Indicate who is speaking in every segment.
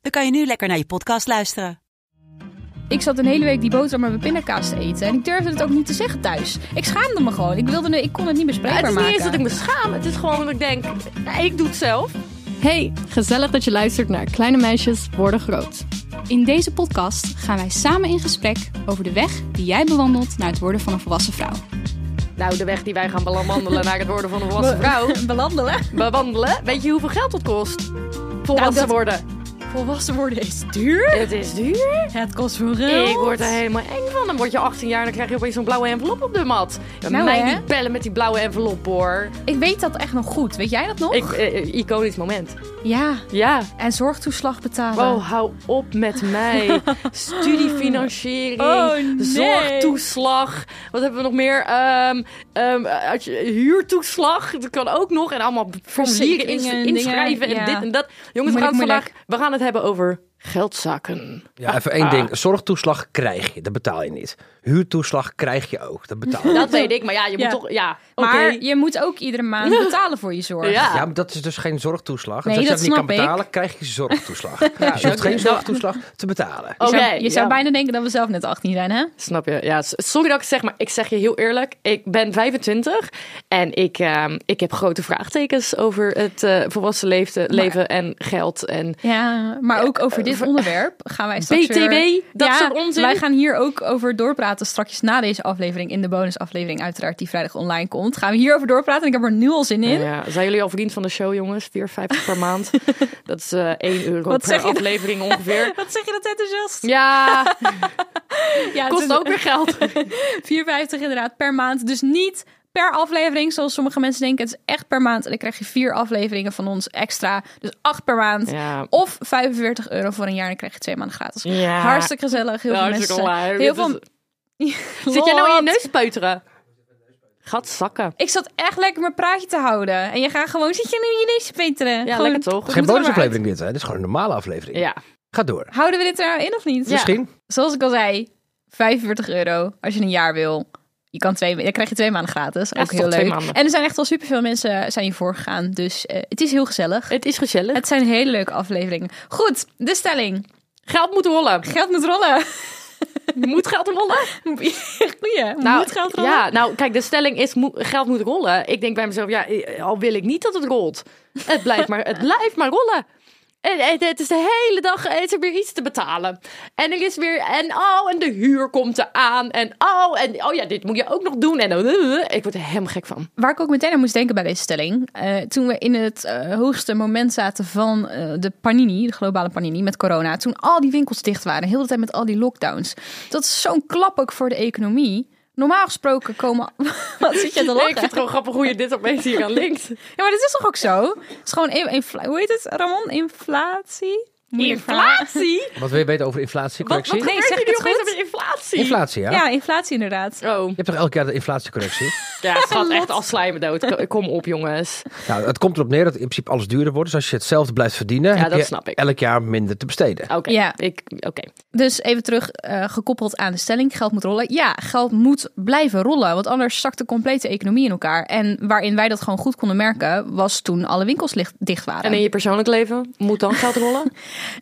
Speaker 1: dan kan je nu lekker naar je podcast luisteren.
Speaker 2: Ik zat een hele week die boterham met pindakaas te eten. En ik durfde het ook niet te zeggen thuis. Ik schaamde me gewoon. Ik, wilde, het- ik kon het niet bespreekbaar
Speaker 3: Het is niet
Speaker 2: maken.
Speaker 3: eens dat ik me schaam. Het is gewoon dat ik denk, nou, ik doe het zelf.
Speaker 4: Hey, gezellig dat je luistert naar Kleine Meisjes Worden Groot.
Speaker 2: In deze podcast gaan wij samen in gesprek over de weg die jij bewandelt naar het worden van een volwassen vrouw.
Speaker 3: Nou, de weg die wij gaan bewandelen naar het worden van een volwassen vrouw.
Speaker 2: Belandelen?
Speaker 3: Bewandelen. Weet je hoeveel geld dat kost? Volwassen
Speaker 2: dat-
Speaker 3: worden.
Speaker 2: Volwassen worden is duur.
Speaker 3: Het is duur.
Speaker 2: Het kost veel
Speaker 3: Ik word er helemaal eng van. Dan word je 18 jaar en dan krijg je opeens zo'n blauwe envelop op de mat. Ja,
Speaker 2: Nou,
Speaker 3: mij
Speaker 2: hè?
Speaker 3: niet bellen met die blauwe envelop, hoor.
Speaker 2: Ik weet dat echt nog goed. Weet jij dat nog?
Speaker 3: Ik, eh, eh, iconisch moment.
Speaker 2: Ja.
Speaker 3: Ja.
Speaker 2: En zorgtoeslag betalen.
Speaker 3: Oh, hou op met mij. Studiefinanciering,
Speaker 2: Oh, nee.
Speaker 3: zorgtoeslag. Wat hebben we nog meer? Ehm, ehm, als je- huurtoeslag, dat kan ook nog. En allemaal formulieren ins-
Speaker 2: Verzekeringen,
Speaker 3: inschrijven
Speaker 2: dingen,
Speaker 3: en
Speaker 2: ja.
Speaker 3: dit en dat. Jongens, we
Speaker 2: Moeilijk,
Speaker 3: gaan, het
Speaker 2: moeilijk.
Speaker 3: vandaag, we gaan het hebben over geldzakken.
Speaker 5: Ja, even één ding. Zorgtoeslag krijg je, dat betaal je niet. Huurtoeslag krijg je ook, dat betaal je.
Speaker 3: Dat weet ik, maar ja, je moet
Speaker 2: Ja.
Speaker 3: toch... Ja,
Speaker 2: Maar
Speaker 3: oké.
Speaker 2: je moet ook iedere maand betalen voor je zorg.
Speaker 3: Ja.
Speaker 5: Ja, maar dat is dus geen zorgtoeslag.
Speaker 2: Nee,
Speaker 5: dus als je
Speaker 2: dat
Speaker 5: dat niet kan
Speaker 2: snap ik.
Speaker 5: betalen, krijg je zorgtoeslag. dus je hoeft geen zorgtoeslag te betalen.
Speaker 2: Je
Speaker 3: Oké,
Speaker 2: zou, je zou
Speaker 3: ja.
Speaker 2: bijna denken dat we zelf net 18 zijn, hè?
Speaker 3: Snap je? Ja, s- sorry dat ik het zeg, maar ik zeg je heel eerlijk. Ik ben 25 en ik, ehm, ik heb grote vraagtekens over het eh, volwassen leefde, leven en geld. En
Speaker 2: Ja, maar ook over dit onderwerp gaan wij straks
Speaker 3: BTW,
Speaker 2: weer-
Speaker 3: dat
Speaker 2: ja,
Speaker 3: soort onzin.
Speaker 2: Wij gaan hier ook over doorpraten straks na deze aflevering. In de bonusaflevering uiteraard die vrijdag online komt. Gaan we hierover doorpraten en ik heb er nu al zin in.
Speaker 3: Nou Ja, zijn jullie al verdiend van de show, jongens? 4,50 per maand. Dat is eh 1 euro
Speaker 2: Wat
Speaker 3: per
Speaker 2: zeg je dan?
Speaker 3: aflevering ongeveer.
Speaker 2: Wat zeg je dat enthousiast?
Speaker 3: Ja,
Speaker 2: Ja, het
Speaker 3: kost
Speaker 2: is
Speaker 3: ook weer geld.
Speaker 2: 4,50 inderdaad per maand. Dus niet per aflevering zoals sommige mensen denken. Het is echt per maand. En dan krijg je vier afleveringen van ons extra. Dus acht per maand.
Speaker 3: Ja.
Speaker 2: Of 45 euro voor een jaar en dan krijg je twee maanden gratis.
Speaker 3: Ja.
Speaker 2: Hartstikke gezellig. Heel veel
Speaker 3: Hartstikke
Speaker 2: mensen.
Speaker 3: waar.
Speaker 2: Heel
Speaker 3: Dit
Speaker 2: veel...
Speaker 3: is- Zit jij nou in je neus peuteren? Gaat zakken.
Speaker 2: Ik zat echt lekker mijn praatje te houden. En je gaat gewoon, zit je nu in je neus te peteren?
Speaker 3: Ja,
Speaker 2: gewoon,
Speaker 3: lekker toch?
Speaker 5: Geen
Speaker 2: moet er maar
Speaker 5: bonusaflevering dit, hè? Dit is gewoon een normale aflevering.
Speaker 3: Ja.
Speaker 5: Ga door.
Speaker 2: Houden we dit er nou in of niet?
Speaker 5: Misschien.
Speaker 2: Zoals ik al zei, 45 euro als je een jaar wil. Je kan twee, dan krijg je twee maanden gratis.
Speaker 3: Ja,
Speaker 2: ook
Speaker 3: is
Speaker 2: heel
Speaker 3: toch twee
Speaker 2: leuk.
Speaker 3: maanden.
Speaker 2: En er zijn echt al superveel mensen eh, zijn hiervoor gegaan. Dus eh, het is heel gezellig.
Speaker 3: Het is gezellig.
Speaker 2: Het zijn hele leuke afleveringen. Goed, de stelling.
Speaker 3: Geld moet rollen.
Speaker 2: Geld moet rollen.
Speaker 3: Moet geld rollen?
Speaker 2: Goeie. moet geld rollen?
Speaker 3: Ja, nou kijk, de stelling is mo- geld moet rollen. Ik denk bij mezelf, ja, eh, al wil ik niet dat het rolt. Het blijft maar, het blijft maar rollen. En, en het is de hele dag, eh, is er weer iets te betalen. En er is weer, en oh, en de huur komt eraan. En oh, en oh ja, dit moet je ook nog doen. En eh, ik word er helemaal gek van.
Speaker 2: Waar ik ook meteen aan moest denken bij deze stelling. eh, toen we in het eh, hoogste moment zaten van eh, de panini, de globale panini met corona. Toen al die winkels dicht waren, heel de tijd met al die lockdowns. Dat is zo'n klap ook voor de economie. Normaal gesproken komen... Wat zit je te
Speaker 3: Nee, ik vind
Speaker 2: lachen?
Speaker 3: het gewoon grappig hoe je dit opeens hier aan linkt.
Speaker 2: Ja, maar dat is toch ook zo? Het is gewoon... in- infla- Hoe heet het, Ramon? Inflatie? Moet je
Speaker 3: Inflatie?
Speaker 5: Wat wil je weten over inflatie,
Speaker 3: Wat, wat
Speaker 5: correctie?
Speaker 3: gebeurt
Speaker 2: zeg
Speaker 3: hier nu
Speaker 2: het
Speaker 3: opeens
Speaker 2: goed.
Speaker 3: met inflatie?
Speaker 5: Inflatie, ja?
Speaker 2: Ja, inflatie inderdaad.
Speaker 3: Oh,
Speaker 5: Je hebt toch elk jaar de inflatiecorrectie?
Speaker 3: ja, schat, echt als slijmen dood. Kom op, jongens.
Speaker 5: nou, het komt erop neer dat in principe alles duurder wordt. Dus als je hetzelfde blijft verdienen, heb
Speaker 3: dat
Speaker 5: je
Speaker 3: snap ik.
Speaker 5: elk jaar minder te besteden.
Speaker 3: Oké,
Speaker 2: Ja.
Speaker 3: ik, oké.
Speaker 2: Dus even terug, eh, gekoppeld aan de stelling, geld moet rollen. Ja, geld moet blijven rollen, want anders zakt de complete economie in elkaar. En waarin wij dat gewoon goed konden merken, was toen alle winkels licht- dicht waren.
Speaker 3: En in je persoonlijk leven moet dan geld rollen?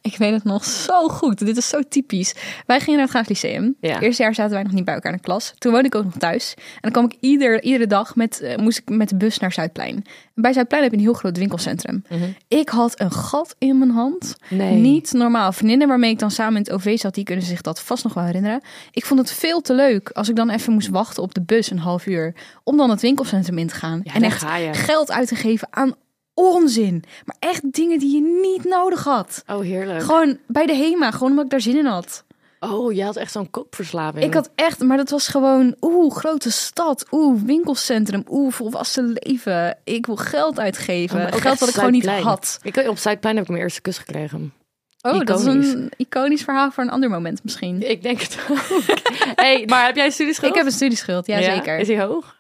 Speaker 2: Ik weet het nog zo goed, dit is zo typisch. Wij gingen naar het Graaf Lyceum.
Speaker 3: Ja.
Speaker 2: Eerste jaar zaten wij nog niet bij elkaar in de klas. Toen woonde ik ook nog thuis. En dan kwam ik ieder, iedere dag met, eh, moest ik met de bus naar Zuidplein. Bij Zuidplein heb je een heel groot winkelcentrum. Ik had een gat in mijn hand.
Speaker 3: Mhm. Nee.
Speaker 2: Niet normaal. Vriendinnen waarmee ik dan samen in het OV zat, die kunnen zich dat vast nog wel herinneren. Ik vond het veel te leuk als ik dan even moest wachten op de bus een half uur. Om dan het winkelcentrum in te gaan. en
Speaker 3: daar
Speaker 2: echt
Speaker 3: ga je.
Speaker 2: geld uit te geven aan onzin. Maar echt dingen die je niet nodig had.
Speaker 3: Oh, heerlijk.
Speaker 2: Gewoon bij de HEMA, gewoon omdat ik daar zin in had.
Speaker 3: Oh, je had echt zo'n koopverslaving.
Speaker 2: Ik had echt, maar dat was gewoon, oeh, grote stad, oeh, winkelcentrum, oeh, volwassen leven. Ik wil geld uitgeven.
Speaker 3: Oh, Maar ook
Speaker 2: geld
Speaker 3: Eh, echt
Speaker 2: dat ik gewoon niet
Speaker 3: Zuidplein.
Speaker 2: had.
Speaker 3: Ik, op Zuidplein heb ik mijn eerste kus gekregen.
Speaker 2: Oh, dat is
Speaker 3: Iconisch.
Speaker 2: een iconisch verhaal voor een ander moment misschien.
Speaker 3: Ik denk het ook. hey, maar heb jij studies
Speaker 2: Ik heb een studieschuld, ja, zeker.
Speaker 3: Is die hoog?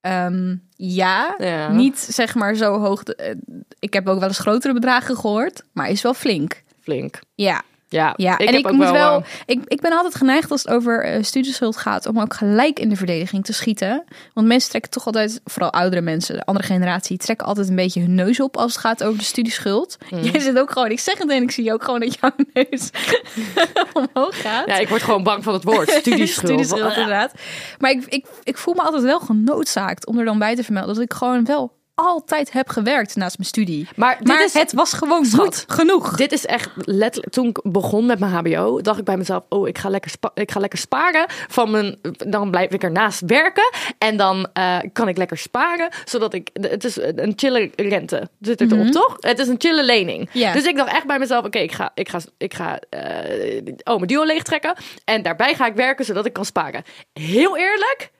Speaker 2: Ehm, ja,
Speaker 3: Ja.
Speaker 2: niet zeg maar zo hoog. de- eh, ik heb ook wel eens grotere bedragen gehoord, maar is wel flink.
Speaker 3: Flink.
Speaker 2: Ja,
Speaker 3: Ja,
Speaker 2: ja.
Speaker 3: ik
Speaker 2: en
Speaker 3: heb
Speaker 2: ik
Speaker 3: ook
Speaker 2: moet wel.
Speaker 3: eh,
Speaker 2: ik, ik ben altijd geneigd als het over eh, studieschuld gaat om ook gelijk in de verdediging te schieten. Want mensen trekken toch altijd, vooral oudere mensen, de andere generatie, trekken altijd een beetje hun neus op als het gaat over de studieschuld.
Speaker 3: Mm.
Speaker 2: Jij zit ook gewoon, ik zeg het en ik zie ook gewoon dat jouw neus omhoog gaat.
Speaker 3: Ja, ik word gewoon bang van het woord. Studieschuld.
Speaker 2: Studieschuld, inderdaad. Maar ik, ik, ik voel me altijd wel genoodzaakt om er dan bij te vermelden dat ik gewoon wel altijd heb gewerkt naast mijn studie.
Speaker 3: Maar dit is-
Speaker 2: het was gewoon goed genoeg.
Speaker 3: Dit is echt letterlijk. Toen ik begon met mijn HBO, dacht ik bij mezelf: Oh, ik ga lekker, spa- ik ga lekker sparen. Van mijn, dan blijf ik ernaast werken. En dan eh, kan ik lekker sparen. Zodat ik. Het is een chille rente. Zit het erop, toch? Het is een chille lening.
Speaker 2: Ja.
Speaker 3: Dus ik dacht echt bij mezelf: Oké, ik ga. Ik ga, ik ga eh, oh, mijn duo leegtrekken. En daarbij ga ik werken zodat ik kan sparen. Heel eerlijk.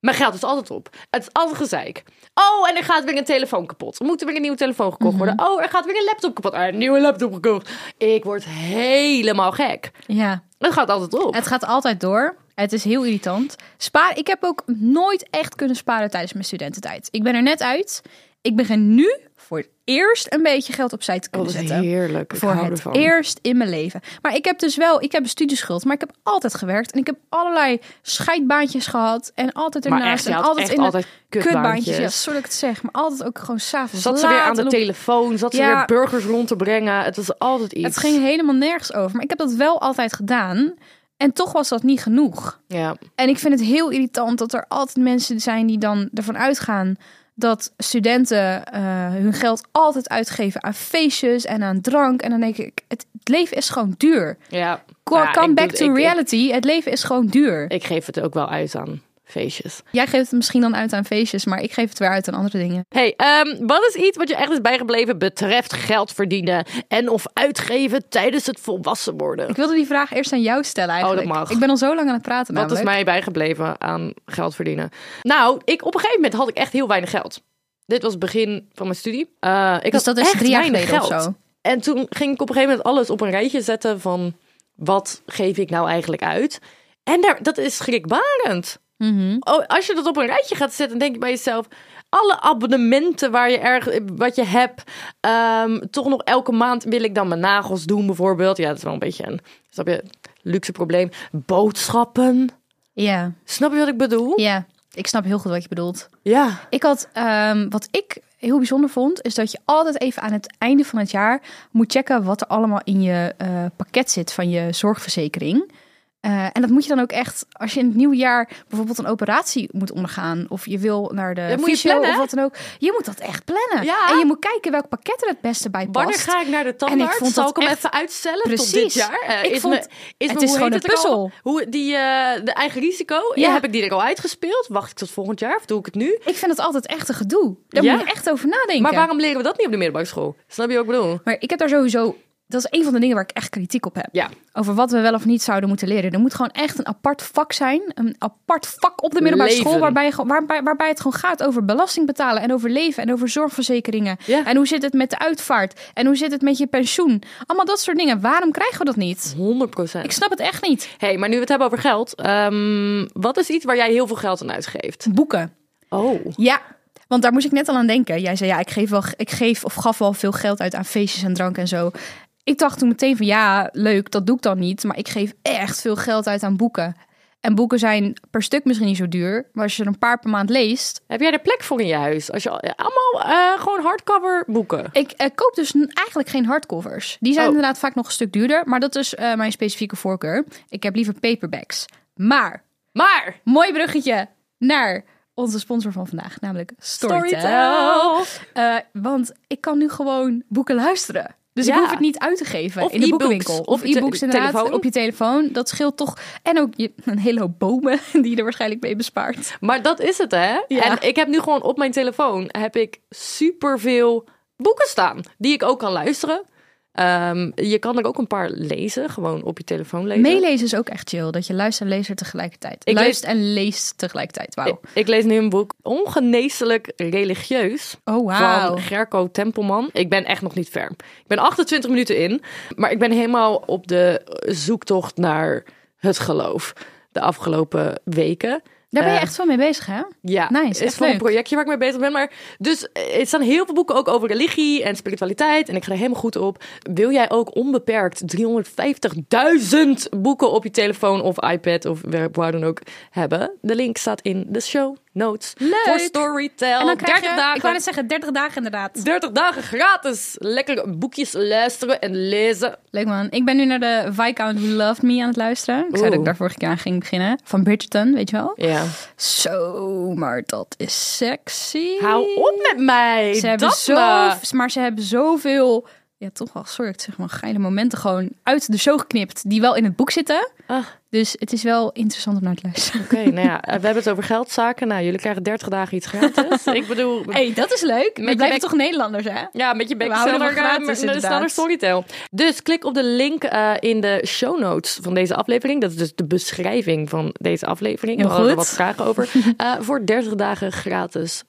Speaker 3: Mijn geld is altijd op. Het is altijd gezeik. Oh, en er gaat weer een telefoon kapot. Er moet weer een nieuwe telefoon gekocht worden. Oh, er gaat weer een laptop kapot. Ah, een nieuwe laptop gekocht. Ik word helemaal gek.
Speaker 2: Ja,
Speaker 3: Het gaat altijd op.
Speaker 2: het gaat altijd door. Het is heel irritant. Spaar, ik heb ook nooit echt kunnen sparen tijdens mijn studententijd. Ik ben er net uit. Ik begin nu voor het eerst een beetje geld opzij te
Speaker 3: Oh,
Speaker 2: kunnen
Speaker 3: dat is
Speaker 2: zetten.
Speaker 3: heerlijk. Ik
Speaker 2: voor
Speaker 3: hou
Speaker 2: het
Speaker 3: ervan.
Speaker 2: eerst in mijn leven. Maar ik heb dus wel, ik heb een studieschuld, maar ik heb altijd gewerkt en ik heb allerlei scheidbaantjes gehad en altijd
Speaker 3: Maar
Speaker 2: ernaast
Speaker 3: echt, je
Speaker 2: en
Speaker 3: had
Speaker 2: altijd
Speaker 3: echt
Speaker 2: in de
Speaker 3: altijd kutbaantjes.
Speaker 2: Ja, sorry dat ik het zeg, maar altijd ook gewoon s'avonds.
Speaker 3: Zat ze weer aan de telefoon? Zat ze
Speaker 2: Ja.
Speaker 3: weer burgers rond te brengen? Het was altijd iets.
Speaker 2: Het ging helemaal nergens over, maar ik heb dat wel altijd gedaan en toch was dat niet genoeg.
Speaker 3: Ja.
Speaker 2: En ik vind het heel irritant dat er altijd mensen zijn die dan ervan uitgaan dat studenten eh, hun geld altijd uitgeven aan feestjes en aan drank. En dan denk ik, het, het leven is gewoon duur.
Speaker 3: ja.
Speaker 2: Go-
Speaker 3: Ja,
Speaker 2: come
Speaker 3: ik
Speaker 2: back
Speaker 3: doe-
Speaker 2: to
Speaker 3: ik- ik-
Speaker 2: reality. het leven is gewoon duur.
Speaker 3: Ik geef het ook wel uit aan feestjes.
Speaker 2: Jij geeft het misschien dan uit aan feestjes, maar ik geef het weer uit aan andere dingen.
Speaker 3: Hey, ehm, wat is iets wat je echt is bijgebleven betreft geld verdienen en of uitgeven tijdens het volwassen worden?
Speaker 2: Ik wilde die vraag eerst aan jou stellen eigenlijk.
Speaker 3: Oh, mag.
Speaker 2: Ik ben al zo lang aan het praten
Speaker 3: Wat is
Speaker 2: namelijk.
Speaker 3: mij bijgebleven aan geld verdienen? Nou, ik, op een gegeven moment had ik echt heel weinig geld. Dit was het begin van mijn studie. Eh, ik
Speaker 2: Dus
Speaker 3: had
Speaker 2: dat is
Speaker 3: echt
Speaker 2: drie jaar
Speaker 3: weinig
Speaker 2: geleden of
Speaker 3: geld.
Speaker 2: zo?
Speaker 3: En toen ging ik op een gegeven moment alles op een rijtje zetten van wat geef ik nou eigenlijk uit? En daar, dat is schrikbarend. Oh, als je dat op een rijtje gaat zetten, dan denk je bij jezelf: alle abonnementen waar je erg, wat je hebt, ehm, toch nog elke maand wil ik dan mijn nagels doen, bijvoorbeeld. Ja, dat is wel een beetje een snap je, luxe probleem. Boodschappen.
Speaker 2: Ja,
Speaker 3: Snap je wat ik bedoel?
Speaker 2: ja. Ik snap heel goed wat je bedoelt.
Speaker 3: Ja.
Speaker 2: Ik had, ehm, wat ik heel bijzonder vond, is dat je altijd even aan het einde van het jaar moet checken wat er allemaal in je eh, pakket zit van je zorgverzekering. Eh, en dat moet je dan ook echt, als je in het nieuwe jaar bijvoorbeeld een operatie moet ondergaan, of je wil naar de
Speaker 3: Dat moet je
Speaker 2: fysio
Speaker 3: plannen,
Speaker 2: of
Speaker 3: hè?
Speaker 2: wat dan ook, je moet dat echt plannen.
Speaker 3: Ja.
Speaker 2: En je moet kijken welk pakket er het beste bij past.
Speaker 3: Wanneer ga ik naar de tandarts?
Speaker 2: En ik vond
Speaker 3: Zal
Speaker 2: dat
Speaker 3: ik hem
Speaker 2: echt-
Speaker 3: even uitstellen tot
Speaker 2: Precies.
Speaker 3: dit jaar? Eh,
Speaker 2: Ik vond-
Speaker 3: me- is
Speaker 2: het
Speaker 3: me-
Speaker 2: is
Speaker 3: hoe
Speaker 2: gewoon
Speaker 3: heet
Speaker 2: een
Speaker 3: het ook al?
Speaker 2: puzzel.
Speaker 3: Hoe, die, eh, de eigen risico,
Speaker 2: Ja.
Speaker 3: heb ik die er al uitgespeeld? Wacht ik tot volgend jaar of doe ik het nu?
Speaker 2: Ik vind het altijd echt een gedoe. Daar
Speaker 3: Ja?
Speaker 2: moet je echt over nadenken.
Speaker 3: Maar waarom leren we dat niet op de middelbare school? Snap je wat ik bedoel?
Speaker 2: Maar ik heb daar sowieso... Dat is een van de dingen waar ik echt kritiek op heb.
Speaker 3: Ja.
Speaker 2: Over wat we wel of niet zouden moeten leren. Er moet gewoon echt een apart vak zijn. Een apart vak op de middelbare
Speaker 3: Leven.
Speaker 2: school. Waarbij, je gewoon- waarbij, waarbij het gewoon gaat over belasting betalen. En over leven. En over zorgverzekeringen.
Speaker 3: Ja.
Speaker 2: En hoe zit het met de uitvaart? En hoe zit het met je pensioen? Allemaal dat soort dingen. Waarom krijgen we dat niet?
Speaker 3: 100 procent.
Speaker 2: Ik snap het echt niet.
Speaker 3: hey, maar nu we het hebben over geld. ehm, wat is iets waar jij heel veel geld aan uitgeeft?
Speaker 2: Boeken.
Speaker 3: Oh.
Speaker 2: Ja, want daar moest ik net al aan denken. Jij zei ja, ik geef, wel, ik geef of gaf wel veel geld uit aan feestjes en drank en zo. Ik dacht toen meteen van ja, leuk, dat doe ik dan niet. Maar ik geef echt veel geld uit aan boeken. En boeken zijn per stuk misschien niet zo duur. Maar als je er een paar per maand leest.
Speaker 3: Heb jij er plek voor in je huis? Als je al- ja, allemaal eh, gewoon hardcover boeken.
Speaker 2: Ik eh, koop dus n- eigenlijk geen hardcovers. Die zijn
Speaker 3: Oh.
Speaker 2: inderdaad vaak nog een stuk duurder. Maar dat is eh, mijn specifieke voorkeur. Ik heb liever paperbacks. Maar,
Speaker 3: Maar
Speaker 2: mooi bruggetje naar onze sponsor van vandaag. Namelijk Storytel. Eh, want ik kan nu gewoon boeken luisteren. Dus ik
Speaker 3: Ja.
Speaker 2: hoef het niet uit te geven
Speaker 3: Of
Speaker 2: in de
Speaker 3: e-books.
Speaker 2: boekenwinkel.
Speaker 3: Op
Speaker 2: Of
Speaker 3: je te-
Speaker 2: e-books inderdaad,
Speaker 3: telefoon.
Speaker 2: op je telefoon. Dat scheelt toch. En ook je, een hele hoop bomen die je er waarschijnlijk mee bespaart.
Speaker 3: Maar dat is het, hè?
Speaker 2: Ja.
Speaker 3: En ik heb nu gewoon op mijn telefoon heb ik superveel boeken staan die ik ook kan luisteren. Ehm, je kan er ook een paar lezen, gewoon op je telefoon lezen.
Speaker 2: Meelezen is ook echt chill. Dat je luistert en leest tegelijkertijd.
Speaker 3: Ik
Speaker 2: Luistert en leest tegelijkertijd. Wauw.
Speaker 3: Ik, ik lees nu een boek Ongeneeslijk religieus.
Speaker 2: Oh, wauw.
Speaker 3: Van Gerco Tempelman. Ik ben echt nog niet ver. Ik ben 28 minuten in. Maar ik ben helemaal op de zoektocht naar het geloof. De afgelopen weken.
Speaker 2: Daar ben je
Speaker 3: Eh,
Speaker 2: echt wel mee bezig, hè?
Speaker 3: Ja,
Speaker 2: Nice,
Speaker 3: het
Speaker 2: echt
Speaker 3: is wel een
Speaker 2: leuk.
Speaker 3: projectje waar ik mee bezig ben. Maar dus eh, er staan heel veel boeken ook over religie en spiritualiteit. En ik ga er helemaal goed op. Wil jij ook onbeperkt 350.000 boeken op je telefoon of iPad of waar- waar dan ook hebben? De link staat in de show notes.
Speaker 2: Leuk.
Speaker 3: Voor Storytel.
Speaker 2: En dan krijg
Speaker 3: 30
Speaker 2: je,
Speaker 3: dagen.
Speaker 2: ik wou net zeggen, 30 dagen inderdaad.
Speaker 3: 30 dagen gratis. Lekker boekjes luisteren en lezen.
Speaker 2: Leuk man. Ik ben nu naar de Viscount Who Loved Me aan het luisteren. Ik zei dat ik
Speaker 3: Oeh.
Speaker 2: daar vorige keer aan ging beginnen. Van Bridgerton, weet je wel?
Speaker 3: Ja.
Speaker 2: Zo, maar dat is sexy.
Speaker 3: Hou op met mij.
Speaker 2: Ze hebben
Speaker 3: dat
Speaker 2: zo,
Speaker 3: me.
Speaker 2: maar ze hebben zoveel, ja toch wel, sorry, ik zeg maar geile momenten gewoon uit de show geknipt die wel in het boek zitten.
Speaker 3: Ah.
Speaker 2: Dus het is wel interessant om naar te luisteren.
Speaker 3: Oké, nou ja, we hebben het over geldzaken. Nou, jullie krijgen 30 dagen iets gratis. Ik bedoel,
Speaker 2: hey, dat is leuk.
Speaker 3: je
Speaker 2: We blijven
Speaker 3: bek-
Speaker 2: toch Nederlanders, hè?
Speaker 3: Ja, met je bek
Speaker 2: We houden
Speaker 3: sneller
Speaker 2: van gratis,
Speaker 3: gratis, naar de
Speaker 2: inderdaad.
Speaker 3: standaard Storytel. Dus klik op de link eh, in de show notes van deze aflevering. Dat is dus de beschrijving van deze aflevering.
Speaker 2: Heel
Speaker 3: We hadden er
Speaker 2: goed.
Speaker 3: wat vragen over. Eh, voor 30 dagen gratis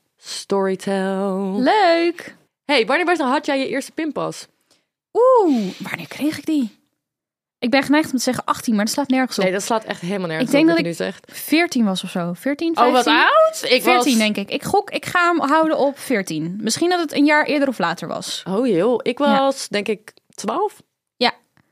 Speaker 3: Storytel.
Speaker 2: Leuk.
Speaker 3: Hey, wanneer was- had jij je eerste pinpas?
Speaker 2: Oeh, wanneer kreeg ik die? Ik ben geneigd om te zeggen 18, maar dat slaat nergens op.
Speaker 3: Nee, dat slaat echt helemaal nergens
Speaker 2: Ik denk
Speaker 3: op
Speaker 2: dat
Speaker 3: wat je nu zegt.
Speaker 2: 14 was of zo. 14, 15?
Speaker 3: Oh, wat oud? Ik
Speaker 2: 14
Speaker 3: was...
Speaker 2: denk ik. Ik gok, ik ga hem houden op 14. Misschien dat het een jaar eerder of later was.
Speaker 3: Oh joh, ik was denk ik 12.
Speaker 2: Ja.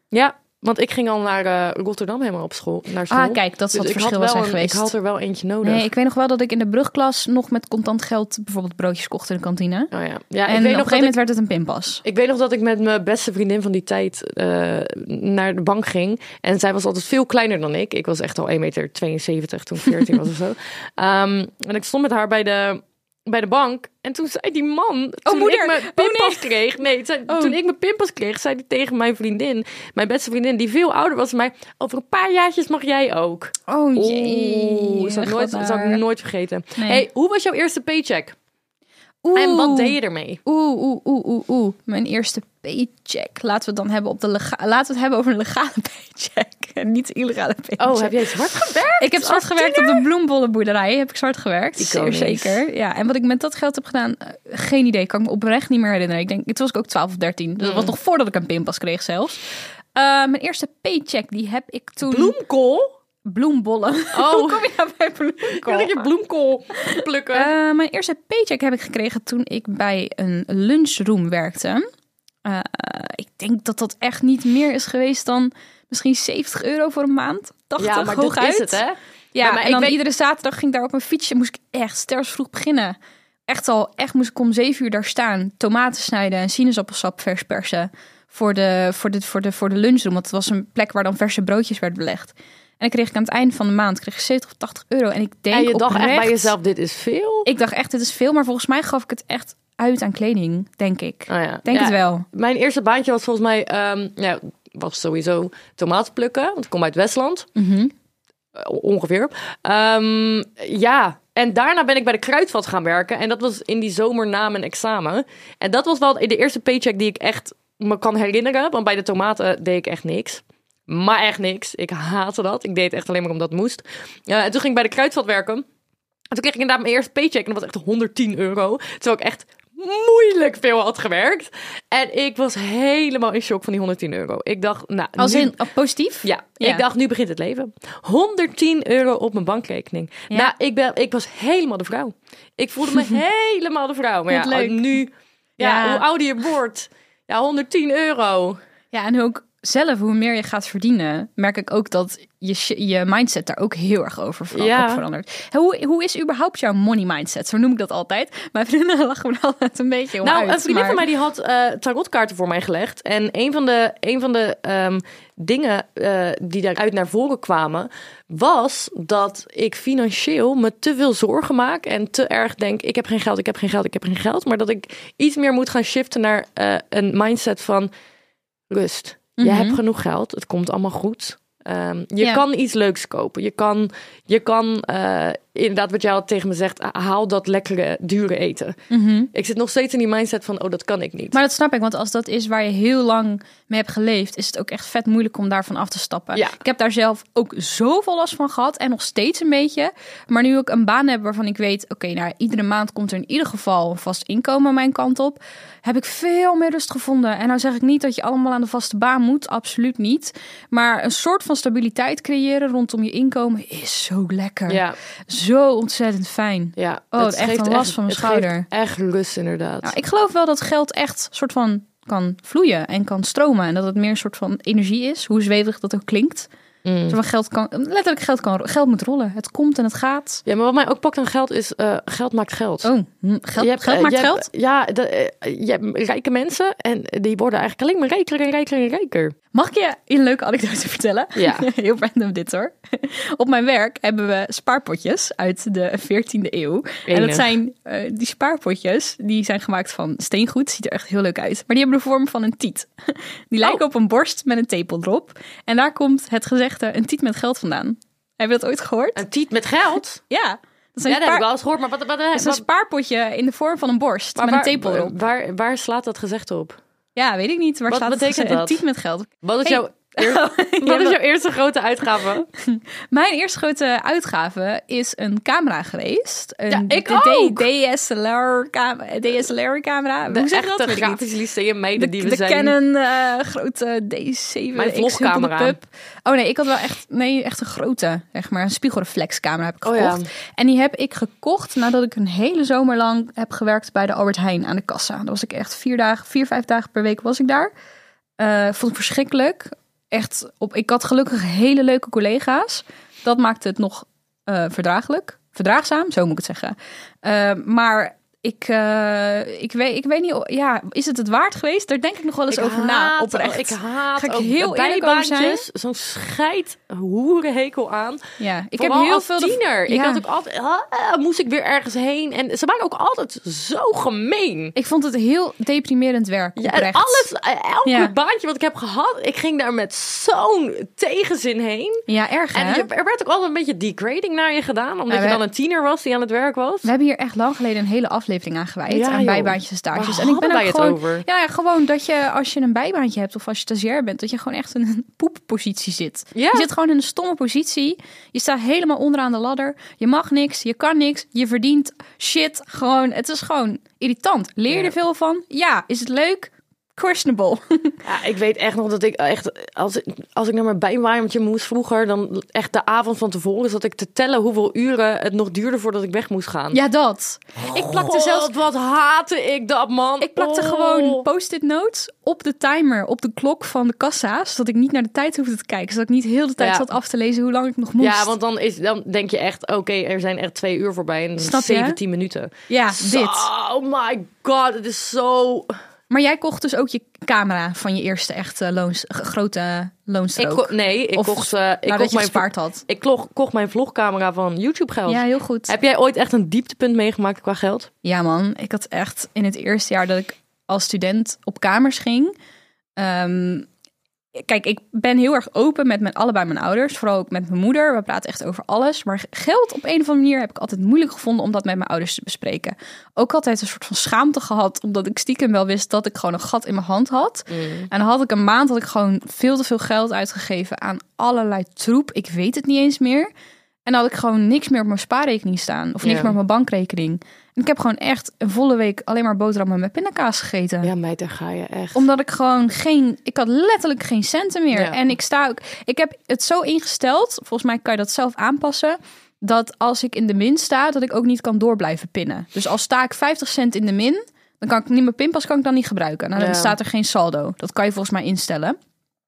Speaker 3: Ja, want ik ging al naar eh, Rotterdam helemaal op school. Naar school.
Speaker 2: Ah, kijk, dat is
Speaker 3: Dus
Speaker 2: wat
Speaker 3: ik had
Speaker 2: verschil
Speaker 3: wel
Speaker 2: was zijn
Speaker 3: een-
Speaker 2: geweest.
Speaker 3: Ik had er wel eentje nodig.
Speaker 2: Nee, ik weet nog wel dat ik in de brugklas nog met contant geld bijvoorbeeld broodjes kocht in de kantine.
Speaker 3: Oh ja. ja
Speaker 2: en
Speaker 3: ik
Speaker 2: op een
Speaker 3: weet
Speaker 2: gegeven
Speaker 3: nog dat
Speaker 2: moment
Speaker 3: ik,
Speaker 2: werd het een pinpas.
Speaker 3: ik weet nog dat ik met mijn beste vriendin van die tijd eh, naar de bank ging. En zij was altijd veel kleiner dan ik. Ik was echt al 1,72 meter toen ik 14 was of zo. Ehm, en ik stond met haar bij de, bij de bank. En toen zei die man, toen
Speaker 2: moeder.
Speaker 3: ik mijn
Speaker 2: Oh,
Speaker 3: pinpas kreeg. Nee, zei- toen ik mijn pinpas kreeg, zei hij tegen mijn vriendin, mijn beste vriendin, die veel ouder was dan mij. Over een paar jaartjes mag jij ook.
Speaker 2: Oh
Speaker 3: Oeh, zou ik nooit, zou ik nooit vergeten.
Speaker 2: Nee.
Speaker 3: Hey, hoe was jouw eerste paycheck? En wat deed je ermee?
Speaker 2: Oeh, oeh, oeh, oeh, oeh. Mijn eerste paycheck. Laten we het dan hebben, op de lega- Laten we het hebben over een legale paycheck. En niet de illegale paycheck.
Speaker 3: Oh, heb jij zwart gewerkt?
Speaker 2: Ik heb zwart gewerkt op de bloembollenboerderij. Heb ik zwart gewerkt. Zeer
Speaker 3: Iconisch.
Speaker 2: zeker. Ja, en wat ik met dat geld heb gedaan, eh, geen idee. Kan ik me oprecht niet meer herinneren. Ik denk, het was ik ook 12 of 13. Dus dat
Speaker 3: Mm.
Speaker 2: was nog voordat ik een pinpas kreeg zelfs. Eh, mijn eerste paycheck, die heb ik toen...
Speaker 3: Bloemkool?
Speaker 2: Bloembollen.
Speaker 3: Oh.
Speaker 2: Hoe kom je nou bij
Speaker 3: Kan
Speaker 2: bloemkool?
Speaker 3: ik je bloemkool plukken?
Speaker 2: Eh, mijn eerste paycheck heb ik gekregen toen ik bij een lunchroom werkte. Eh, ik denk dat dat echt niet meer is geweest dan misschien 70 euro voor een maand. 80
Speaker 3: ja, maar dit
Speaker 2: hooguit.
Speaker 3: is het, hè?
Speaker 2: Ja,
Speaker 3: Maar- maar
Speaker 2: en
Speaker 3: ik
Speaker 2: dan
Speaker 3: weet-
Speaker 2: iedere zaterdag ging ik daar op mijn fietsje. Moest ik echt stersvroeg beginnen. Echt al, echt moest ik om zeven uur daar staan. Tomaten snijden en sinaasappelsap vers persen. Voor de, voor, de, voor, de, voor de lunchroom. Want het was een plek waar dan verse broodjes werden belegd. En dan kreeg ik aan het eind van de maand kreeg ik 70 of 80 euro. En ik denk
Speaker 3: En je dacht echt bij
Speaker 2: oprecht-
Speaker 3: jezelf, dit is veel?
Speaker 2: Ik dacht echt, dit is veel. Maar volgens mij gaf ik het echt uit aan kleding, denk ik.
Speaker 3: Oh ja.
Speaker 2: Denk
Speaker 3: Ja,
Speaker 2: het wel.
Speaker 3: Mijn eerste baantje was volgens mij... ehm, ja, was sowieso tomaten plukken. Want ik kom uit Westland. Eh, ongeveer. Ehm, ja, en daarna ben ik bij de Kruidvat gaan werken. En dat was in die zomer na mijn examen. En dat was wel de eerste paycheck die ik echt me kan herinneren. Want bij de tomaten deed ik echt niks. Maar echt niks. Ik haatte dat. Ik deed het echt alleen maar omdat het moest. Eh, en toen ging ik bij de Kruidvat werken. En toen kreeg ik inderdaad mijn eerste paycheck. En dat was echt 110 euro. Terwijl ik echt moeilijk veel had gewerkt. En ik was helemaal in shock van die 110 euro. Ik dacht, nou...
Speaker 2: Als
Speaker 3: nu-
Speaker 2: in oh, positief?
Speaker 3: ja,
Speaker 2: Ja.
Speaker 3: ik dacht, nu begint het leven. 110 euro op mijn bankrekening.
Speaker 2: Ja.
Speaker 3: Nou, ik, ben, ik was helemaal de vrouw. Ik voelde me helemaal de vrouw. Maar ja,
Speaker 2: Wat leuk.
Speaker 3: nu, ja,
Speaker 2: Ja.
Speaker 3: hoe ouder je wordt, ja, 110 euro.
Speaker 2: Ja, en ook zelf, hoe meer je gaat verdienen, merk ik ook dat je, shi- je mindset daar ook heel erg over ver-
Speaker 3: Ja.
Speaker 2: op verandert. Hé, Hoe, hoe is überhaupt jouw money mindset? Zo noem ik dat altijd. Mijn vrienden lachen me altijd een beetje om
Speaker 3: Nou,
Speaker 2: uit,
Speaker 3: een vriendin
Speaker 2: maar-
Speaker 3: van mij die had eh, tarotkaarten voor mij gelegd. En een van de, een van de ehm, dingen eh, die daaruit naar voren kwamen, was dat ik financieel me te veel zorgen maak. En te erg denk, ik heb geen geld, ik heb geen geld, ik heb geen geld. Maar dat ik iets meer moet gaan shiften naar eh, een mindset van rust. Je hebt genoeg geld, het komt allemaal goed. Ehm, je
Speaker 2: Mhm. Ja.
Speaker 3: kan iets leuks kopen. Je kan, je kan eh, inderdaad wat jij al tegen me zegt, haal dat lekkere, dure eten. Ik zit nog steeds in die mindset van, oh, dat kan ik niet.
Speaker 2: Maar dat snap ik, want als dat is waar je heel lang mee hebt geleefd, is het ook echt vet moeilijk om daarvan af te stappen.
Speaker 3: Ja.
Speaker 2: Ik heb daar zelf ook zoveel last van gehad en nog steeds een beetje. Maar nu ik een baan heb waarvan ik weet, oké, nou, iedere maand komt er in ieder geval een vast inkomen mijn kant op, heb ik veel meer rust gevonden. En nou zeg ik niet dat je allemaal aan de vaste baan moet, absoluut niet. Maar een soort van stabiliteit creëren rondom je inkomen is zo lekker.
Speaker 3: ja,
Speaker 2: Zo ontzettend fijn.
Speaker 3: ja.
Speaker 2: Oh,
Speaker 3: Dat
Speaker 2: echt
Speaker 3: geeft
Speaker 2: een last van mijn
Speaker 3: het geeft
Speaker 2: schouder.
Speaker 3: echt rust, inderdaad.
Speaker 2: Nou, ik geloof wel dat geld echt soort van kan vloeien en kan stromen. En dat het meer een soort van energie is, hoe zweverig dat ook klinkt.
Speaker 3: Mm.
Speaker 2: Zo van geld kan, letterlijk geld, kan, geld moet rollen. Het komt en het gaat.
Speaker 3: Ja, maar wat mij ook pakt aan geld is, eh, geld maakt geld.
Speaker 2: Oh, hm, geld,
Speaker 3: Je hebt,
Speaker 2: geld
Speaker 3: eh,
Speaker 2: maakt
Speaker 3: je hebt-
Speaker 2: geld?
Speaker 3: ja, de, eh, je hebt rijke mensen en die worden eigenlijk alleen maar rijker en rijker en rijker.
Speaker 2: Mag ik je een leuke anekdote vertellen?
Speaker 3: Ja.
Speaker 2: Heel random dit hoor. Op mijn werk hebben we spaarpotjes uit de 14e eeuw. En dat
Speaker 3: Enig.
Speaker 2: zijn eh, die spaarpotjes, die zijn gemaakt van steengoed. Ziet er echt heel leuk uit. Maar die hebben de vorm van een tiet. Die
Speaker 3: Oh.
Speaker 2: lijken op een borst met een tepel erop. En daar komt het gezegde een tiet met geld vandaan. Heb je dat ooit gehoord?
Speaker 3: Een tiet met geld?
Speaker 2: Ja. Dat
Speaker 3: Ja,
Speaker 2: zijn
Speaker 3: dat heb ik wel eens gehoord, maar wat... wat,
Speaker 2: dat is een spaarpotje in de vorm van een borst met een tepel erop.
Speaker 3: Waar, waar slaat dat gezegd op?
Speaker 2: Ja, weet ik niet. Waar
Speaker 3: Wat
Speaker 2: staat
Speaker 3: betekent
Speaker 2: het? gezegde?
Speaker 3: dat?
Speaker 2: Een tiet met geld.
Speaker 3: Wat is,
Speaker 2: Hey.
Speaker 3: jouw, eer- wat is jouw eerste grote uitgave?
Speaker 2: Mijn eerste grote uitgave is een camera geweest. Een
Speaker 3: Ja, ik
Speaker 2: d-
Speaker 3: ook.
Speaker 2: DSLR-camera. DSLR-camera. Hoe zeg je dat?
Speaker 3: Echte
Speaker 2: Weet ik niet.
Speaker 3: gratis lyceum
Speaker 2: De,
Speaker 3: meiden die we
Speaker 2: de
Speaker 3: zijn.
Speaker 2: Canon eh, grote D7.
Speaker 3: Mijn vlogcamera.
Speaker 2: Pub. Oh nee, ik had wel echt, nee, echt een grote, zeg maar, een spiegelreflexcamera heb ik
Speaker 3: Oh ja.
Speaker 2: gekocht. En die heb ik gekocht nadat ik een hele zomer lang heb gewerkt bij de Albert Heijn aan de kassa. Daar was ik echt vier dagen, vier, vijf dagen per week was ik daar. Eh, vond ik verschrikkelijk. Echt op, ik had gelukkig hele leuke collega's. Dat maakte het nog eh, verdraaglijk. Verdraagzaam, zo moet ik het zeggen. Eh, maar ik, eh, ik, weet, ik weet niet, o- ja, is het het waard geweest? Daar denk ik nog wel eens
Speaker 3: Ik
Speaker 2: over na,
Speaker 3: haat-
Speaker 2: oprecht.
Speaker 3: Ik haat
Speaker 2: Ga ik
Speaker 3: ook
Speaker 2: heel eerlijk over zijn?
Speaker 3: bijbaantjes. Zo'n scheid hoerenhekel aan.
Speaker 2: ja, ik heb
Speaker 3: Vooral
Speaker 2: heel
Speaker 3: als
Speaker 2: veel... de-
Speaker 3: tiener. Ik
Speaker 2: Ja.
Speaker 3: had ook altijd... ah, moest ik weer ergens heen. En ze waren ook altijd zo gemeen.
Speaker 2: Ik vond het heel deprimerend werk,
Speaker 3: Ja, en
Speaker 2: oprecht.
Speaker 3: alles, eh, elke
Speaker 2: Ja.
Speaker 3: baantje wat ik heb gehad, ik ging daar met zo'n tegenzin heen.
Speaker 2: Ja, erg
Speaker 3: En
Speaker 2: hè?
Speaker 3: je- er werd ook altijd een beetje degrading naar je gedaan, omdat
Speaker 2: Ja,
Speaker 3: je
Speaker 2: we-
Speaker 3: dan een tiener was die aan het werk was.
Speaker 2: We hebben hier echt lang geleden een hele aflevering aan gewijd.
Speaker 3: Ja,
Speaker 2: aan
Speaker 3: joh.
Speaker 2: bijbaantjes en stages.
Speaker 3: Waar
Speaker 2: en ik ben
Speaker 3: hadden
Speaker 2: ook
Speaker 3: wij het
Speaker 2: gewoon,
Speaker 3: over?
Speaker 2: Ja, ja, gewoon dat je als je een bijbaantje hebt of als je stagiair bent, dat je gewoon echt in een poeppositie zit.
Speaker 3: Ja.
Speaker 2: Je zit gewoon in een stomme positie. Je staat helemaal onderaan de ladder. Je mag niks, je kan niks, je verdient shit. Gewoon, het is gewoon irritant. Leer je
Speaker 3: Ja.
Speaker 2: er veel van? Ja. Is het leuk? Questionable.
Speaker 3: Ja, ik weet echt nog dat ik echt, als, ik- als ik naar mijn bijbaantje moest vroeger, dan echt de avond van tevoren zat ik te tellen hoeveel uren het nog duurde voordat ik weg moest gaan.
Speaker 2: ja, dat. Ik plakte zelfs
Speaker 3: God, wat haatte ik dat, man.
Speaker 2: Ik plakte
Speaker 3: Oh.
Speaker 2: gewoon post-it notes op de timer, op de klok van de kassa. Zodat ik niet naar de tijd hoefde te kijken. Zodat ik niet heel de tijd
Speaker 3: Ja.
Speaker 2: zat af te lezen hoe lang ik nog moest.
Speaker 3: Ja, want dan, is, dan denk je echt, oké, er zijn echt twee uur voorbij en
Speaker 2: Snap je?
Speaker 3: 17 minuten.
Speaker 2: Ja, dit.
Speaker 3: Oh my god, het is zo...
Speaker 2: Maar jij kocht dus ook je camera van je eerste echte loons, g- grote
Speaker 3: Ik
Speaker 2: loonstrook.
Speaker 3: ko- nee, ik
Speaker 2: Of
Speaker 3: kocht, eh, ik
Speaker 2: nadat
Speaker 3: kocht
Speaker 2: je
Speaker 3: mijn
Speaker 2: gespaard had.
Speaker 3: Ik kocht, kocht mijn vlogcamera van YouTube geld.
Speaker 2: Ja, heel goed.
Speaker 3: Heb jij ooit echt een dieptepunt meegemaakt qua geld?
Speaker 2: Ja man, ik had echt in het eerste jaar dat ik als student op kamers ging. ehm, kijk, ik ben heel erg open met mijn, allebei mijn ouders. Vooral ook met mijn moeder. We praten echt over alles. Maar geld op een of andere manier heb ik altijd moeilijk gevonden om dat met mijn ouders te bespreken. Ook altijd een soort van schaamte gehad. Omdat ik stiekem wel wist dat ik gewoon een gat in mijn hand had. En dan had ik een maand dat ik gewoon veel te veel geld uitgegeven aan allerlei troep. Ik weet het niet eens meer. En dan had ik gewoon niks meer op mijn spaarrekening staan. Of niks
Speaker 3: Ja.
Speaker 2: meer op mijn bankrekening. En ik heb gewoon echt een volle week alleen maar boterhammen met pindakaas gegeten
Speaker 3: Ja, meid, daar ga je echt.
Speaker 2: omdat ik gewoon geen, ik had letterlijk geen centen meer.
Speaker 3: Ja.
Speaker 2: En ik sta ook, ik heb het zo ingesteld, volgens mij kan je dat zelf aanpassen, dat als ik in de min sta, dat ik ook niet kan door blijven pinnen. Dus als sta ik 50 cent in de min, dan kan ik niet mijn pinpas kan ik dan niet gebruiken. Nou, dan
Speaker 3: Ja.
Speaker 2: staat er geen saldo. Dat kan je volgens mij instellen.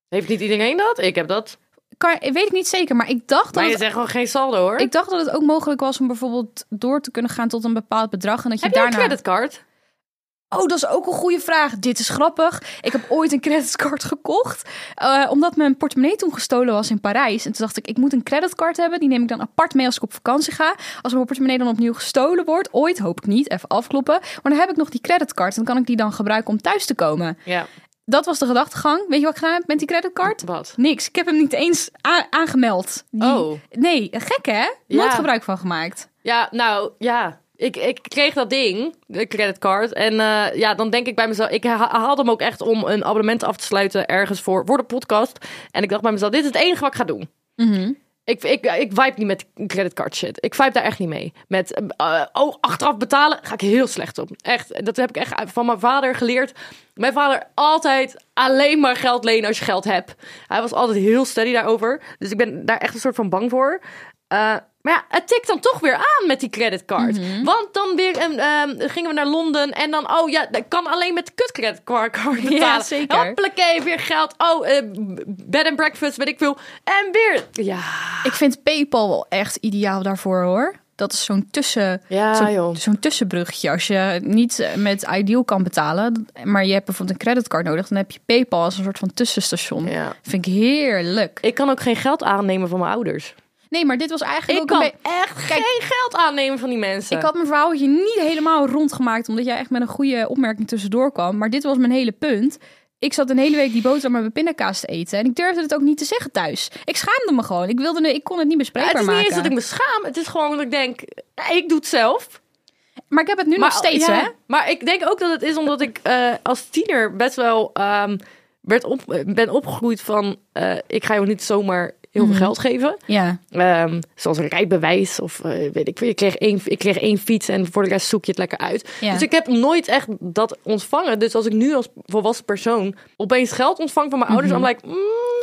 Speaker 3: Heeft niet iedereen dat? Ik heb dat.
Speaker 2: Kan, weet ik niet zeker, maar ik dacht dat
Speaker 3: Maar je
Speaker 2: het,
Speaker 3: zegt gewoon geen saldo, hoor.
Speaker 2: ik dacht dat het ook mogelijk was om bijvoorbeeld door te kunnen gaan tot een bepaald bedrag en dat je
Speaker 3: heb jij
Speaker 2: daarna
Speaker 3: een creditcard?
Speaker 2: Oh, dat is ook een goede vraag. Dit is grappig. Ik heb ooit een creditcard gekocht. eh, omdat mijn portemonnee toen gestolen was in Parijs. En toen dacht ik, ik moet een creditcard hebben. Die neem ik dan apart mee als ik op vakantie ga. Als mijn portemonnee dan opnieuw gestolen wordt. Ooit, hoop ik niet. Even afkloppen. Maar dan heb ik nog die creditcard. En dan kan ik die dan gebruiken om thuis te komen.
Speaker 3: Ja.
Speaker 2: dat was de gedachtegang. Weet je wat ik gedaan heb met die creditcard?
Speaker 3: Wat?
Speaker 2: Niks. Ik heb hem niet eens a- aangemeld. Die-
Speaker 3: Oh.
Speaker 2: Nee, gek hè?
Speaker 3: Ja.
Speaker 2: Nooit gebruik van gemaakt.
Speaker 3: Ja, nou ja. Ik, ik kreeg dat ding, de creditcard. En eh, ja, dan denk ik bij mezelf. Ik ha- haalde hem ook echt om een abonnement af te sluiten ergens voor, voor de podcast. En ik dacht bij mezelf: dit is het enige wat ik ga doen. Ik, ik, ik vibe niet met creditcard shit. Ik vibe daar echt niet mee. Met eh, oh, achteraf betalen ga ik heel slecht op. Echt, dat heb ik echt van mijn vader geleerd. Mijn vader altijd alleen maar geld lenen als je geld hebt. Hij was altijd heel steady daarover. Dus ik ben daar echt een soort van bang voor. Eh, maar ja, het tikt dan toch weer aan met die creditcard.
Speaker 2: Mhm.
Speaker 3: Want dan weer een, ehm, gingen we naar Londen en dan... Oh ja, dat kan alleen met de kut creditcard betalen.
Speaker 2: Ja, zeker.
Speaker 3: Hoppakee, weer geld. Oh, eh, bed and breakfast, weet ik veel. En weer... Ja,
Speaker 2: Ik vind PayPal wel echt ideaal daarvoor hoor. Dat is zo'n tussen,
Speaker 3: Ja,
Speaker 2: zo'n,
Speaker 3: joh.
Speaker 2: zo'n tussenbrugje. Als je niet eh, met Ideal kan betalen, maar je hebt bijvoorbeeld een creditcard nodig, dan heb je PayPal als een soort van tussenstation.
Speaker 3: Ja.
Speaker 2: Vind ik heerlijk.
Speaker 3: Ik kan ook geen geld aannemen van mijn ouders.
Speaker 2: Nee, maar dit was eigenlijk
Speaker 3: Ik
Speaker 2: ook
Speaker 3: kan
Speaker 2: een be-
Speaker 3: echt
Speaker 2: Kijk,
Speaker 3: geen geld aannemen van die mensen.
Speaker 2: Ik had mijn verhaaltje niet helemaal rondgemaakt, omdat jij echt met een goede opmerking tussendoor kwam. Maar dit was mijn hele punt. Ik zat een hele week die boterham met pindakaas te eten. En ik durfde het ook niet te zeggen thuis. Ik schaamde me gewoon. Ik, wilde, ik kon het niet bespreekbaar
Speaker 3: het is niet
Speaker 2: maken.
Speaker 3: eens dat ik me schaam. Het is gewoon dat ik denk, nee, ik doe het zelf.
Speaker 2: Maar ik heb het nu nog steeds,
Speaker 3: oh, ja,
Speaker 2: hè?
Speaker 3: Maar ik denk ook dat het is omdat ik eh, als tiener best wel ehm, werd op, ben opgegroeid van... eh, ik ga jou niet zomaar heel
Speaker 2: Mhm.
Speaker 3: veel geld geven.
Speaker 2: Ja.
Speaker 3: Ehm, zoals een rijbewijs of eh, weet ik veel. Ik kreeg, één, ik kreeg één fiets en voor de rest zoek je het lekker uit.
Speaker 2: Ja.
Speaker 3: Dus ik heb nooit echt dat ontvangen. Dus als ik nu als volwassen persoon opeens geld ontvang van mijn ouders, dan ben ik, mm,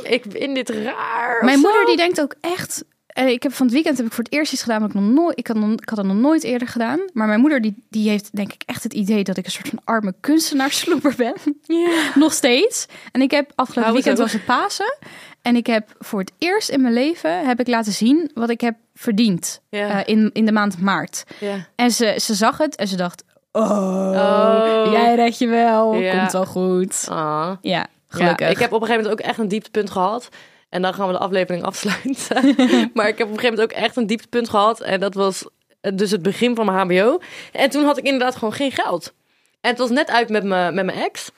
Speaker 3: ik vind dit raar. of
Speaker 2: Mhm. Mijn
Speaker 3: zo.
Speaker 2: moeder die denkt ook echt. eh, Ik heb van het weekend heb ik voor het eerst iets gedaan wat ik nog nooit. Ik had, nog- ik had het nog nooit eerder gedaan. Maar mijn moeder die, die heeft denk ik echt het idee dat ik een soort van arme kunstenaarsloeper ben. nog steeds. En ik heb afgelopen
Speaker 3: Hou het
Speaker 2: weekend
Speaker 3: ook.
Speaker 2: was het Pasen. En ik heb voor het eerst in mijn leven heb ik laten zien wat ik heb verdiend
Speaker 3: Ja.
Speaker 2: eh, in, in de maand maart.
Speaker 3: Ja.
Speaker 2: En ze, ze zag het en ze dacht. Oh,
Speaker 3: Oh.
Speaker 2: jij redt je wel.
Speaker 3: Ja.
Speaker 2: Komt wel goed.
Speaker 3: Ah.
Speaker 2: Ja,
Speaker 3: Ja,
Speaker 2: gelukkig.
Speaker 3: ik heb op een gegeven moment ook echt een dieptepunt gehad. En dan gaan we de aflevering afsluiten. maar ik heb op een gegeven moment ook echt een dieptepunt gehad. En dat was eh, dus het begin van mijn HBO. En toen had ik inderdaad gewoon geen geld. En het was net uit met mijn met mijn ex.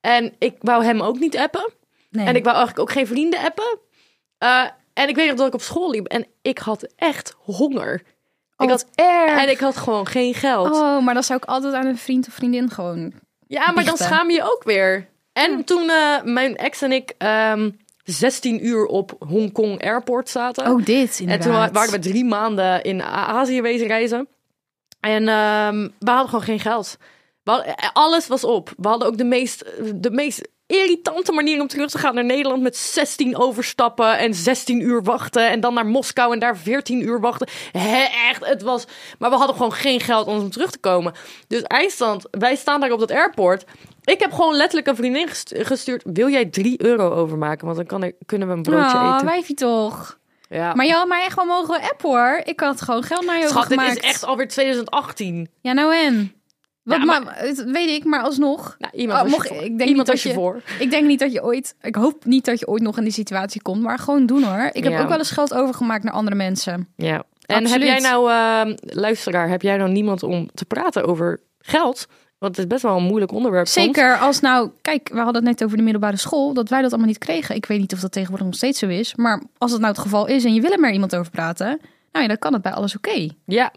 Speaker 3: En ik wou hem ook niet appen.
Speaker 2: Nee.
Speaker 3: En ik wou eigenlijk ook geen vrienden appen. Eh, en ik weet nog dat ik op school liep. En ik had echt honger. ik had,
Speaker 2: Oh, erg.
Speaker 3: en ik had gewoon geen geld.
Speaker 2: Oh, maar dat zou ik altijd aan een vriend of vriendin gewoon.
Speaker 3: Ja, maar dan
Speaker 2: biechten.
Speaker 3: schaam je je ook weer. En toen eh, mijn ex en ik ehm 16 uur op Hongkong Airport zaten.
Speaker 2: Oh, dit
Speaker 3: en
Speaker 2: inderdaad.
Speaker 3: toen wa- waren we drie maanden in A- Azië wezen reizen. En ehm, we hadden gewoon geen geld. We hadden- eh, alles was op. We hadden ook de meest, de meest irritante manier om terug te gaan naar Nederland. Met 16 overstappen en 16 uur wachten. En dan naar Moskou en daar 14 uur wachten. Hè, echt, het was... Maar we hadden gewoon geen geld anders om terug te komen. Dus eindstand, wij staan daar op dat airport. Ik heb gewoon letterlijk een vriendin gest- gestuurd. Wil jij 3 euro overmaken? Want dan kan ik, kunnen we een broodje
Speaker 2: oh,
Speaker 3: eten.
Speaker 2: wijfie toch.
Speaker 3: Ja.
Speaker 2: Maar jou, maar echt wel mogen app hoor. Ik had gewoon geld naar je
Speaker 3: Schat, dit
Speaker 2: overgemaakt.
Speaker 3: is echt alweer 2018.
Speaker 2: Ja, nou en. Wat,
Speaker 3: Ja,
Speaker 2: maar...
Speaker 3: maar-
Speaker 2: het weet ik, maar alsnog.
Speaker 3: Nou, iemand
Speaker 2: Oh,
Speaker 3: was
Speaker 2: mocht-
Speaker 3: je voor.
Speaker 2: ik denk niet
Speaker 3: Iemand was
Speaker 2: dat
Speaker 3: je
Speaker 2: je-
Speaker 3: voor.
Speaker 2: Ik denk niet dat je ooit. Ik hoop niet dat je ooit nog in die situatie komt, maar gewoon doen hoor. Ik heb
Speaker 3: Ja.
Speaker 2: ook wel eens geld overgemaakt naar andere mensen.
Speaker 3: Ja. En
Speaker 2: Absoluut.
Speaker 3: heb jij nou, ehm, luisteraar, heb jij nou niemand om te praten over geld? Want het is best wel een moeilijk onderwerp. soms.
Speaker 2: Zeker als nou, kijk, we hadden het net over de middelbare school, dat wij dat allemaal niet kregen. Ik weet niet of dat tegenwoordig nog steeds zo is, maar als dat nou het geval is en je wil er maar iemand over praten, nou ja, dan kan het bij alles oké.
Speaker 3: Ja,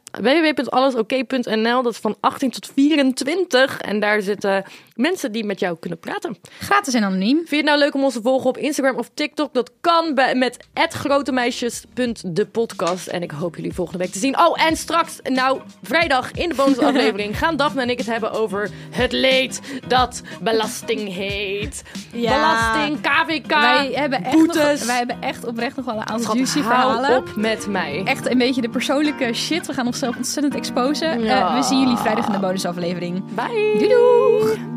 Speaker 3: www.allesoké.nl, dat is van 18 tot 24. En daar zitten mensen die met jou kunnen praten.
Speaker 2: Gratis en anoniem.
Speaker 3: Vind je het nou leuk om ons te volgen op Instagram of TikTok? Dat kan bij, met @grotemeisjes.depodcast. En ik hoop jullie volgende week te zien. Oh, en straks, nou, vrijdag in de bonusaflevering... gaan Daphne en ik het hebben over het leed dat belasting heet.
Speaker 2: Ja.
Speaker 3: Belasting, KVK,
Speaker 2: wij, hebben echt
Speaker 3: boetes.
Speaker 2: nog, wij hebben echt oprecht nog wel een
Speaker 3: Schat,
Speaker 2: aantal juicy
Speaker 3: hou
Speaker 2: verhalen.
Speaker 3: op met mij.
Speaker 2: Echt een beetje de persoonlijke shit. We gaan onszelf ontzettend exposen.
Speaker 3: Ja.
Speaker 2: Eh, we zien jullie vrijdag in de bonusaflevering.
Speaker 3: Bye.
Speaker 2: Doei doeg!